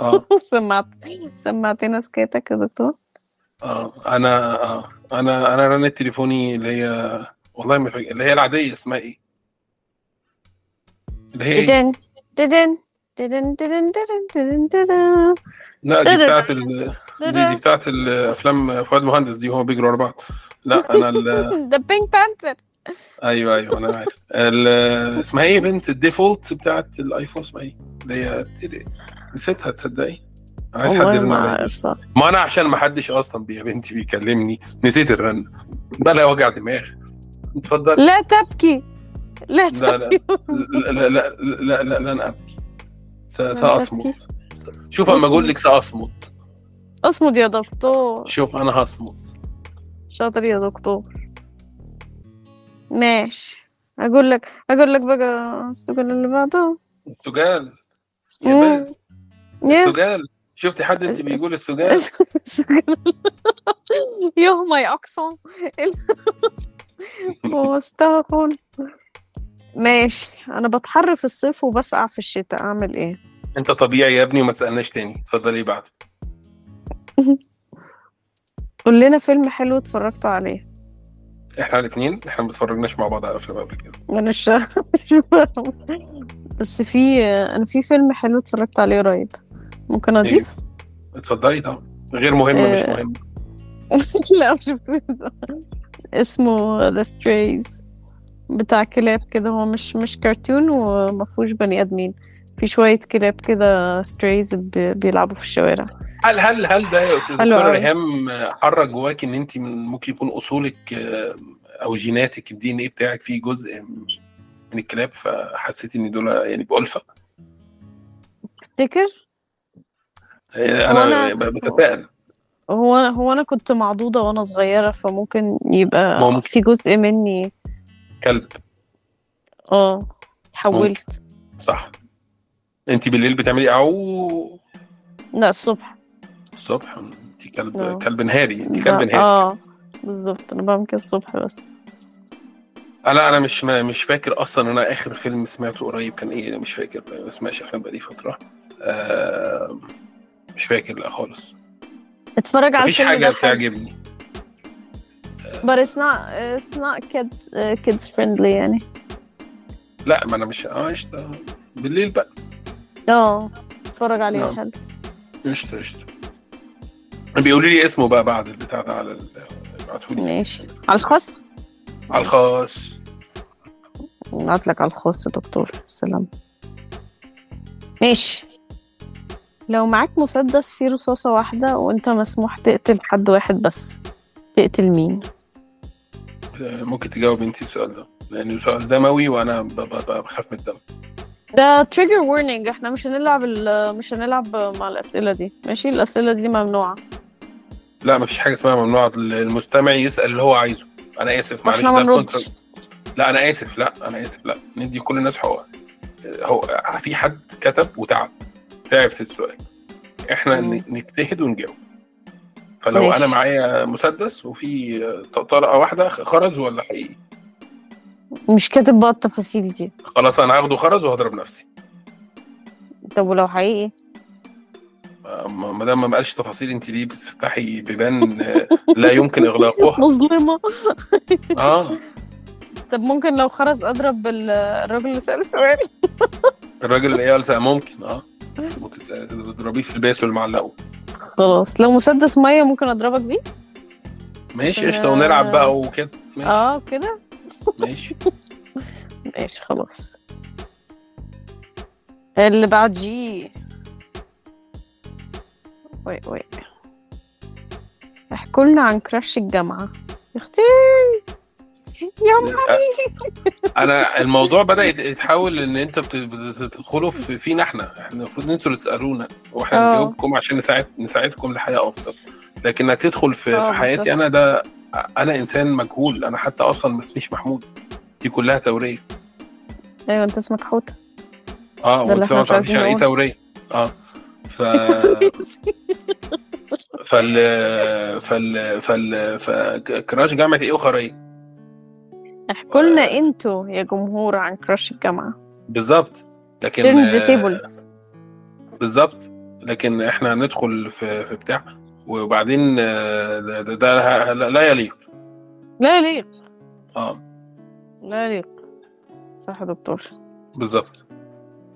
اه
(laughs) سمعت سمعتنا سكاتك يا دكتور
اه انا اه انا انا رن تليفوني اللي هي والله ما فاكر اللي هي العاديه اسمها ايه اللي هي إيه؟
ددن ددن ددن ددن ددن ددن ددن
لا دي بتاعت ال... دي, دي بتاعت الافلام فؤاد مهندس دي هو بيجروا ورا بعض لا انا ال...
(laughs) ده بينك بانثر
ايوه ايوه انا عارف ال... اسمها ايه يا بنت الديفولت بتاعت الايفون اسمها ايه؟ اللي هي تيري- نسيتها تصدقي؟ عايز حد
والله
يرن
ما
عليا
عارفة
ما انا عشان ما حدش اصلا بي- يا بنتي بيكلمني نسيت الرن بلا وجع دماغ
(laughs)
اتفضل
لا تبكي لا
لا، لا.
تبكي
لا لا لا لا لا لن ابكي س-
تبكي.
ساصمت شوف اما اقول لك ساصمت
اصمد يا دكتور
شوف انا هصمت
شاطر يا دكتور ماشي اقول لك اقول لك بقى السؤال اللي بعده
السجال يا بنت
يا
السجال شفتي حد انت
(laughs)
بيقول السجال
يوه ماي اكسون بوظتها خالص ماشي انا بتحر في الصيف وبسقع في الشتاء اعمل ايه
انت طبيعي يا ابني وما تسالناش تاني اتفضلي بعد
قول لنا فيلم حلو اتفرجتوا عليه
احنا الاثنين احنا ما اتفرجناش مع بعض على افلام قبل كده
انا مش بس في انا في فيلم حلو اتفرجت عليه قريب ممكن اضيف
اتفضلي طبعا غير مهمه
آه.
مش مهمه
(laughs) لا مش بتقول. اسمه ذا ستريز بتاع كلاب كده هو مش مش كرتون ومفهوش بني ادمين في شوية كلاب كده ستريز بيلعبوا في الشوارع
هل هل هل ده يا استاذ
حلو
دكتور
قوي.
ريهام حرك جواك ان انت من- ممكن يكون اصولك آه، او جيناتك الدي ان ايه بتاعك فيه جزء من الكلاب فحسيت ان دول يعني بالفه
تفتكر
آه،
هو
انا
أنا-
ب- بتساءل
هو هو انا كنت معضوضة وانا صغيرة فممكن يبقى
ممكن.
في جزء مني
كلب
اه حولت
صح انت بالليل بتعملي او
لا الصبح
الصبح انت
آه.
كلب كلب نهاري انت
لا،
كلب نهاري
اه بالظبط انا بعمل كده الصبح بس
انا انا آه، مش ما مش فاكر اصلا انا اخر فيلم سمعته قريب كان ايه مش فاكر ما بسمعش افلام بقالي فتره آه مش فاكر لا خالص
اتفرج على
مفيش
الفيلم
حاجه
ده حلو.
بتعجبني
but it's not it's not kids uh, kids friendly يعني
لا ما انا مش اه قشطه بالليل بقى
اه اتفرج عليه
نعم.
حلو
قشطه قشطه بيقولوا لي اسمه بقى بعد البتاع ده على ال- ابعتهولي
ماشي على الخاص
على الخاص
نبعت لك على الخاص دكتور سلام ماشي لو معاك مسدس فيه رصاصة واحدة وانت مسموح تقتل حد واحد بس تقتل مين؟
آه، ممكن تجاوب انت السؤال ده لانه سؤال دموي وانا ب- ب- ب- بخاف من الدم
ده تريجر warning احنا مش هنلعب ال- مش هنلعب مع الأسئلة دي ماشي الأسئلة دي ممنوعة
لا مفيش حاجه اسمها ممنوع المستمع يسال اللي هو عايزه انا اسف معلش
واحنا ما
ده
نردش.
الكونتر- لا انا اسف لا انا اسف لا ندي كل الناس حقوقها هو في حد كتب وتعب تعب في السؤال احنا
مم.
ن- نجتهد ونجاوب فلو
ماشي.
انا معايا مسدس وفي ط- طلقه واحده خرز ولا حقيقي
مش كاتب بقى التفاصيل دي
خلاص انا هاخده خرز وهضرب نفسي
طب ولو حقيقي
ما ما دام ما بقالش تفاصيل انت ليه بتفتحي بيبان (laughs) آه، لا
(laughs)
يمكن اغلاقها
مظلمة
اه
طب ممكن لو خرز أضرب ال- الراجل اللي سأل السؤال
الراجل اللي قال ممكن اه ممكن تضربيه في الباس والمعلقه
خلاص لو مسدس مية ممكن أضربك بيه
ماشي
عشان-
قشطه ونلعب بقى وكده ماشي
اه كده
ماشي
ماشي خلاص اللي بعد جي وي وي احكوا لنا عن كراش الجامعة يا اختي يا م-
انا الموضوع بدا يت- يتحول ان انت بت- بت- بتدخلوا في فينا احنا احنا المفروض ان انتوا اللي تسالونا واحنا
آه.
نجاوبكم عشان نساعد نساعدكم لحياه افضل لكنك تدخل في,
آه،
في حياتي انا ده انا انسان مجهول انا حتى اصلا ما اسميش محمود دي كلها توريه
ايوه انت اسمك حوتة
اه
ده اللي
وانت
احنا
ما
مش
تعرفيش يعني ايه
عايزين
توريه اه
(laughs)
ف فال فال فال فكراش جامعه ايه وخريه
احكوا لنا انتوا يا جمهور عن كراش الجامعة
بالظبط لكن
تيرن ذا
آه،
تيبلز
بالظبط لكن احنا هندخل في في بتاع وبعدين آه، ده, ده, ده لا- لا يليق
لا يليق
اه
لا يليق صح يا دكتور
بالظبط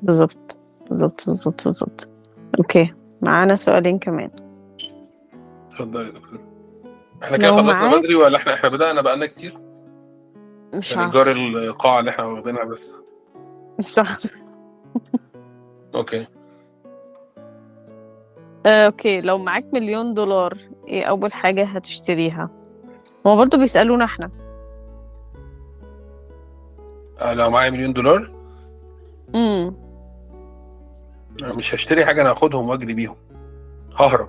بالظبط بالظبط بالظبط بالظبط اوكي معانا سؤالين كمان
اتفضل يا دكتور احنا كده
لو
خلصنا
معاك-
بدري ولا احنا احنا بدانا بقالنا كتير
مش
يعني
عارفة
جار القاعه اللي احنا واخدينها بس
مش عارفة
اوكي
آه، اوكي لو معاك مليون دولار ايه اول حاجة هتشتريها هو برضه بيسألونا احنا
آه، لو معايا مليون دولار
امم
أنا مش هشتري حاجه انا هاخدهم واجري بيهم ههرب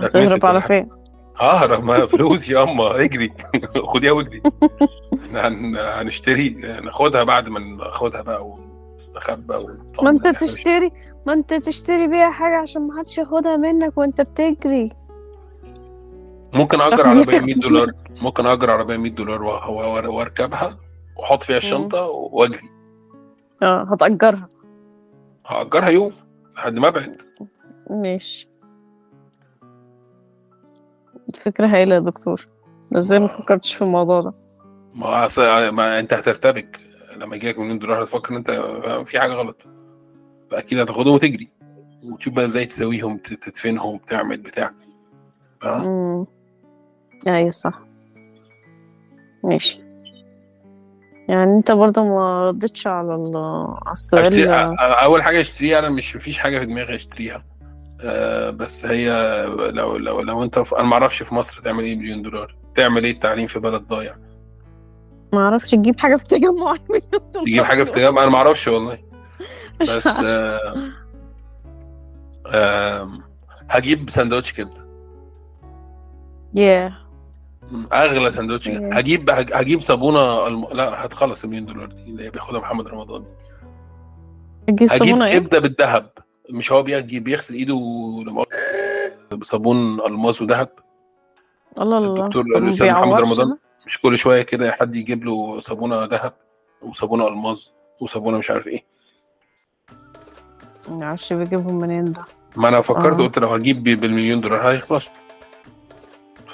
هتهرب على فين
ههرب ما فلوس يا اما اجري خديها واجري إحنا هن- هنشتري ناخدها بعد ما ناخدها بقى ونستخبى ونطمن
ما انت
إن إحنا مش-
تشتري ما انت تشتري بيها حاجة عشان ما حدش ياخدها منك وانت بتجري
ممكن اجر
شخص
عربيه
بيتعب.
100 دولار ممكن اجر عربيه 100 دولار وه- وه- واركبها واحط فيها الشنطه واجري
اه هتأجرها
هاجرها يوم لحد ما ابعد
ماشي فكرة هايلة يا دكتور ازاي ما فكرتش في الموضوع ده
ما, أص- ما انت هترتبك لما يجيلك مليون دولار هتفكر ان انت في حاجه غلط فاكيد هتاخدهم وتجري وتشوف بقى ازاي تسويهم ت- تدفنهم تعمل بتاع آه.
امم ايوه صح ماشي يعني انت برضه ما ردتش على ال- على
أشتري... آه،
السؤال
أ- اول حاجه اشتريها انا مش مفيش حاجه في دماغي اشتريها أه بس هي لو لو لو انت في... انا ما اعرفش في مصر تعمل ايه مليون دولار تعمل ايه التعليم في بلد ضايع
ما اعرفش تجيب حاجه في تجمع المليون
تجيب حاجه في تجمع انا ما اعرفش والله
(laughs)
بس آه آه هجيب سندوتش كبده
ياه
اغلى سندوتش كبده
Yeah.
هجيب هج- هجيب صابونه الم... لا هتخلص المليون دولار دي اللي هي بياخدها محمد رمضان دي
تجيب
هجيب
صابونه ايه
كبده بالذهب مش هو بيجيب بيغسل ايده لما بصابون الماس وذهب
الله الله
الدكتور
طب ما
الأستاذ محمد
بيعورش
رمضان.
ده؟
مش كل شويه كده حد يجيب له صابونه ذهب وصابونه الماس وصابونه مش عارف ايه
ما اعرفش بيجيبهم منين ده
ما انا فكرت
آه.
قلت لو هجيب بي- بالمليون دولار هيخلص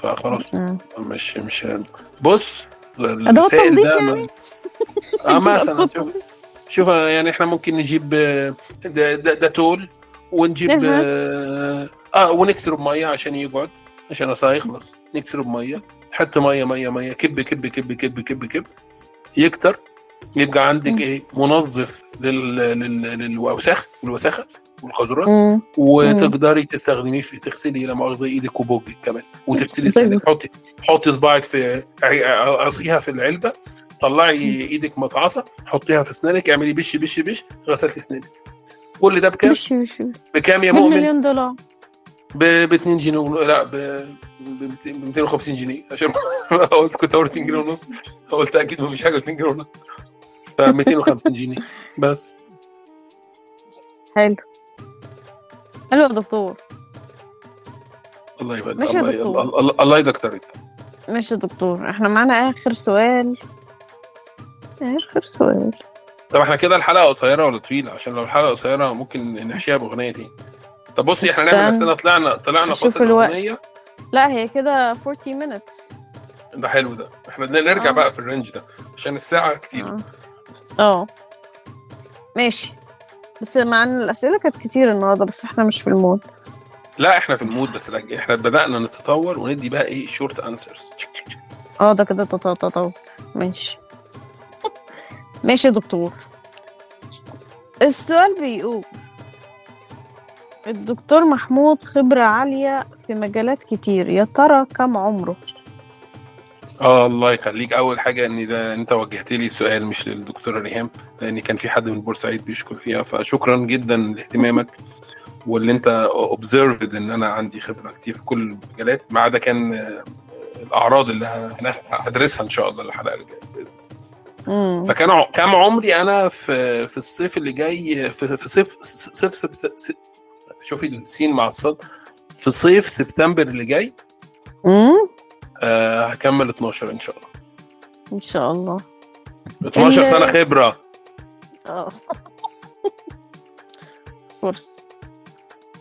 فخلاص
آه.
مش مش بص
أدوات
السائل
تنظيف
ده
يعني؟
اه مثلا شوف شوف يعني احنا ممكن نجيب آه، ده, ده, ده تول ونجيب
نهاد.
اه, آه ونكسره بميه عشان يقعد عشان اصلا يخلص نكسره بميه حط ميه ميه ميه كب كب كب كب كب كب يكتر يبقى عندك ايه منظف لل... لل... للوساخ الوساخه والقذورات
مم.
وتقدري تستخدميه في تغسلي لا مؤاخذه ايدك وبوجك كمان وتغسلي
طيب.
اسنانك حطي حطي صباعك في ع- قصيها في العلبه طلعي ايدك مطعصه حطيها في اسنانك اعملي بش بش بش غسلتي اسنانك كل ده بكام؟
مش مش
بكام يا
100
مؤمن؟
مليون دولار
ب 2 جنيه ون... لا ب ب 250 جنيه عشان (laughs) قلت كنت اقول 2 جنيه ونص قلت اكيد مفيش حاجه 2 جنيه ونص ف 250 جنيه بس
حلو حلو يا دكتور
الله يبارك
ماشي يا
الله ي-
دكتور.
الله- الله- الله يدكتورك
ماشي يا دكتور احنا معانا اخر سؤال اخر سؤال
طب احنا كده الحلقه قصيره ولا طويله عشان لو الحلقه قصيره ممكن نحشيها باغنيه تاني طب بصي احنا نعمل
استنى.
نفسنا طلعنا طلعنا
نشوف
فاصل
الوقت.
اغنيه
لا هي كده 40 minutes
ده حلو ده احنا نرجع
آه.
بقى في الرينج ده عشان الساعه كتير
اه اه ماشي بس مع ان الاسئله كانت كتير النهارده بس احنا مش في المود
لا احنا في المود بس لا، احنا بدانا نتطور وندي بقى ايه شورت انسرز
اه ده كده تطاطا ماشي ماشي يا دكتور السؤال بيقول الدكتور محمود خبرة عالية في مجالات كتير يا ترى كم عمره؟
اه الله يخليك اول حاجه ان ده انت وجهت لي السؤال مش للدكتوره ريهام لان كان في حد من بورسعيد بيشكر فيها فشكرا جدا لاهتمامك واللي انت اوبزرفد ان انا عندي خبره كتير في كل المجالات ما عدا كان آه، الاعراض اللي هن- هدرسها ان شاء الله الحلقه اللي جايه باذن الله
مم.
فكان ع- كام عمري انا في في الصيف اللي جاي في في صيف صيف, صيف, صيف شوفي السين مع الصاد في صيف سبتمبر اللي جاي
مم؟
آه هكمل 12 ان شاء الله
ان شاء الله
12
ال-
سنه خبره
اه فرص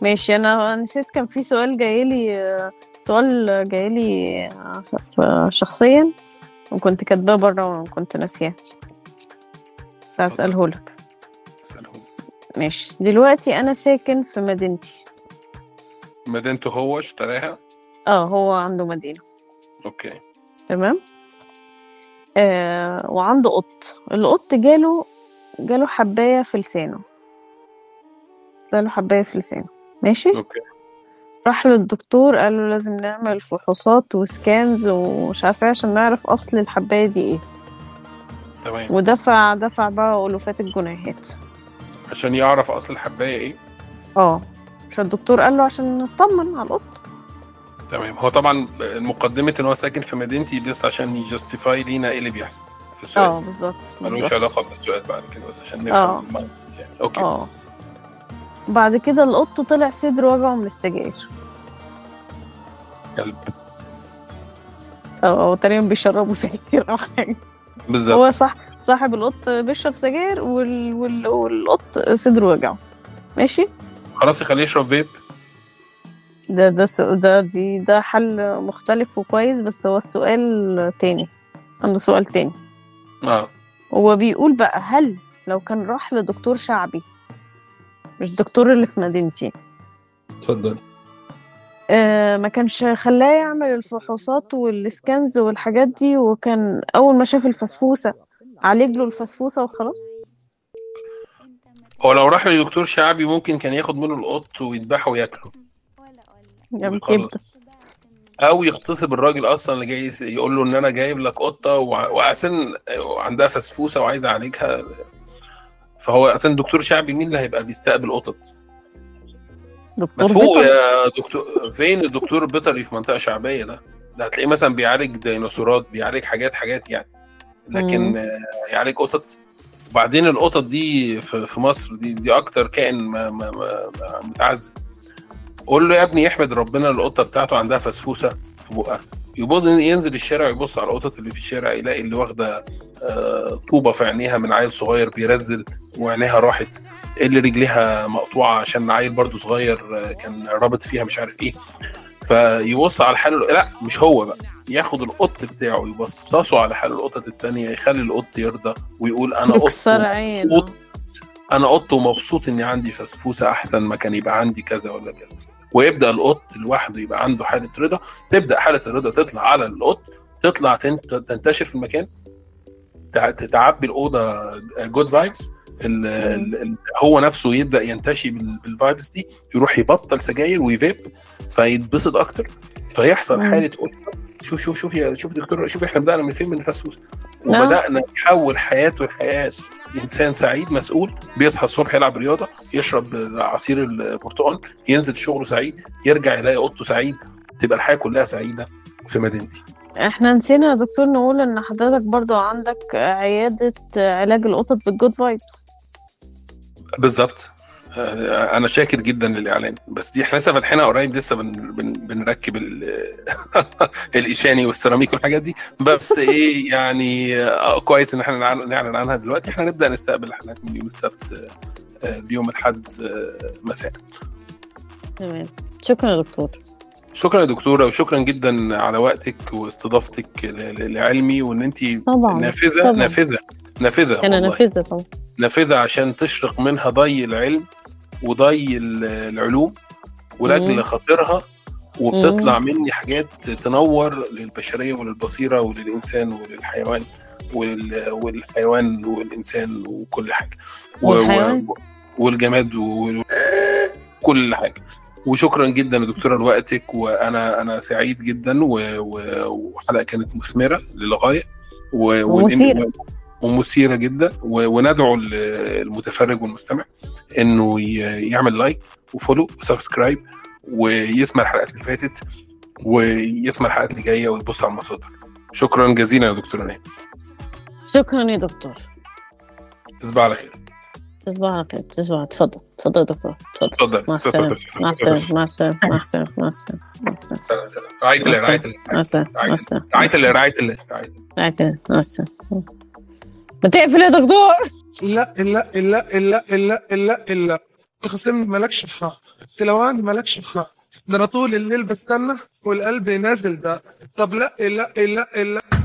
ماشي انا نسيت كان في سؤال جايلي سؤال جايلي ف- شخصيا وكنت كاتباه بره وكنت ناسياه هسأله لك
اسألهم.
ماشي دلوقتي انا ساكن في مدينتي
مدينته هو اشتراها
اه هو عنده مدينة
اوكي
تمام آه وعنده قط القط جاله جاله حباية في لسانه جاله حباية في لسانه ماشي
اوكي
راح للدكتور قال له لازم نعمل فحوصات وسكانز ومش عارفه إيه عشان نعرف اصل الحبايه دي ايه
تمام
ودفع دفع بقى الوفات الجنيهات
عشان يعرف اصل الحبايه ايه
اه مش الدكتور قال له عشان نطمن على القط
تمام هو طبعا مقدمه ان هو ساكن في مدينتي بس عشان يجستيفاي لينا ايه اللي بيحصل في
اه
السؤال
بالظبط
ملوش
بالظبط.
علاقه بالسؤال بعد كده بس عشان
آه.
نفهم المقصد يعني اوكي
اه بعد كده القط طلع صدر وجعه من السجاير
كلب
اه هو تقريبا بيشربوا (laughs) سجاير او حاجه
بالظبط
هو صح صاحب القط بيشرب سجاير وال... وال... والقط صدره وجعه ماشي
خلاص يخليه يشرب فيب
ده ده سو- ده دي ده حل مختلف وكويس بس هو السؤال تاني عنده سؤال تاني
اه
هو بيقول بقى هل لو كان راح لدكتور شعبي مش الدكتور اللي في مدينتي
اتفضل
آه ما كانش خلاه يعمل الفحوصات والسكانز والحاجات دي وكان اول ما شاف الفسفوسه عالج له الفسفوسه وخلاص
هو لو راح لدكتور شعبي ممكن كان ياخد منه القط ويذبحه وياكله
يعني
ويخلص.
يبدأ.
او يغتصب الراجل اصلا اللي جاي يس- يقول له ان انا جايب لك قطه وع- وعشان عندها فسفوسه وعايز اعالجها فهو عشان دكتور شعبي مين اللي هيبقى بيستقبل قطط؟ ما
دكتور
تفوق
بيطري.
يا دكتور فين الدكتور البيطري في منطقه شعبيه ده؟ ده هتلاقيه مثلا بيعالج ديناصورات بيعالج حاجات حاجات يعني لكن
مم.
آه، يعالج قطط وبعدين القطط دي في في مصر دي دي اكتر كائن ما ما ما ما متعذب قول له يا ابني يحمد ربنا القطه بتاعته عندها فسفوسه في بقها يبص ينزل الشارع يبص على القطط اللي في الشارع يلاقي اللي واخده آه، طوبه في عينيها من عيل صغير بيرزل وعينيها راحت اللي رجليها مقطوعه عشان عيل برضه صغير آه، كان رابط فيها مش عارف ايه فيبص على حاله لا مش هو بقى ياخد القط بتاعه يبصصه على حال القطط التانية يخلي القط يرضى
(laughs)
ويقول انا قط
يكسر عينه
قط انا قط ومبسوط اني عندي فسفوسه احسن ما كان يبقى عندي كذا ولا كذا ويبدا القط لوحده يبقى عنده حاله رضا تبدا حاله الرضا تطلع على القط تطلع تن- تنتشر في المكان تع- تعبي آه، الاوضه جود فايبس هو نفسه يبدا ينتشي بال- بالفايبس دي يروح يبطل سجاير ويفيب فيتبسط اكتر فيحصل
مم.
حاله ألفة. شوف شوف شوف يا شوف دكتور شوف احنا بدانا من فين من الفسوس
آه.
وبدانا نحول حياته لحياه انسان سعيد مسؤول بيصحى الصبح يلعب رياضه يشرب عصير البرتقال ينزل شغله سعيد يرجع يلاقي اوضته سعيد تبقى الحياه كلها سعيده في مدينتي
احنا نسينا يا دكتور نقول ان حضرتك برضو عندك عيادة علاج القطط بالجود فايبس
بالظبط آه، انا شاكر جدا للاعلان بس دي احنا لسه فاتحينها قريب لسه بن بن بنركب ال- (laughs) الايشاني والسيراميك والحاجات دي بس ايه يعني آه، كويس ان احنا نعل- نعلن عنها دلوقتي احنا نبدا نستقبل الحالات من يوم السبت آه، ليوم الاحد آه، مساء
تمام شكرا يا دكتور
شكرا يا دكتوره وشكرا جدا على وقتك واستضافتك ل- ل- لعلمي وان انت
طبعا
نافذه
طبعاً.
نافذه نافذه
انا
والله.
نافذه طبعا
نافذه عشان تشرق منها ضي العلم وضي ال- العلوم
مم.
ولاجل خاطرها وبتطلع مني حاجات تنور للبشريه وللبصيره وللانسان وللحيوان ولل- والحيوان والانسان وكل حاجه و- و-
والحيوان.
والجماد وكل حاجه وشكرا جدا يا دكتوره لوقتك وانا انا سعيد جدا و- و- وحلقه كانت مثمره للغايه و- وإن-
ومثيرة.
ومثيره جدا و- وندعو ال- المتفرج والمستمع انه ي- يعمل لايك وفولو وسبسكرايب ويسمع الحلقات اللي فاتت ويسمع الحلقات اللي جايه ويبص على المصادر شكرا جزيلا يا دكتوره نهى
شكرا يا دكتور
تصبح على خير
تصبح على خير تصبح اتفضل اتفضل يا دكتور اتفضل
اتفضل
مع السلامة مع السلامة مع السلامة مع السلامة مع السلامة مع السلامة
سلام سلام رعايه الله رعايه الله
مع السلامة مع السلامة مع
رعايه
السلامة.
الله رعايه الله رعاية الله.
رعاية الله. مع السلامة ما تقفل يا دكتور
لا لا لا لا لا لا لا تخصمني مالكش حق تلوعني مالكش حق ده انا طول الليل بستنى والقلب نازل ده طب لا لا لا لا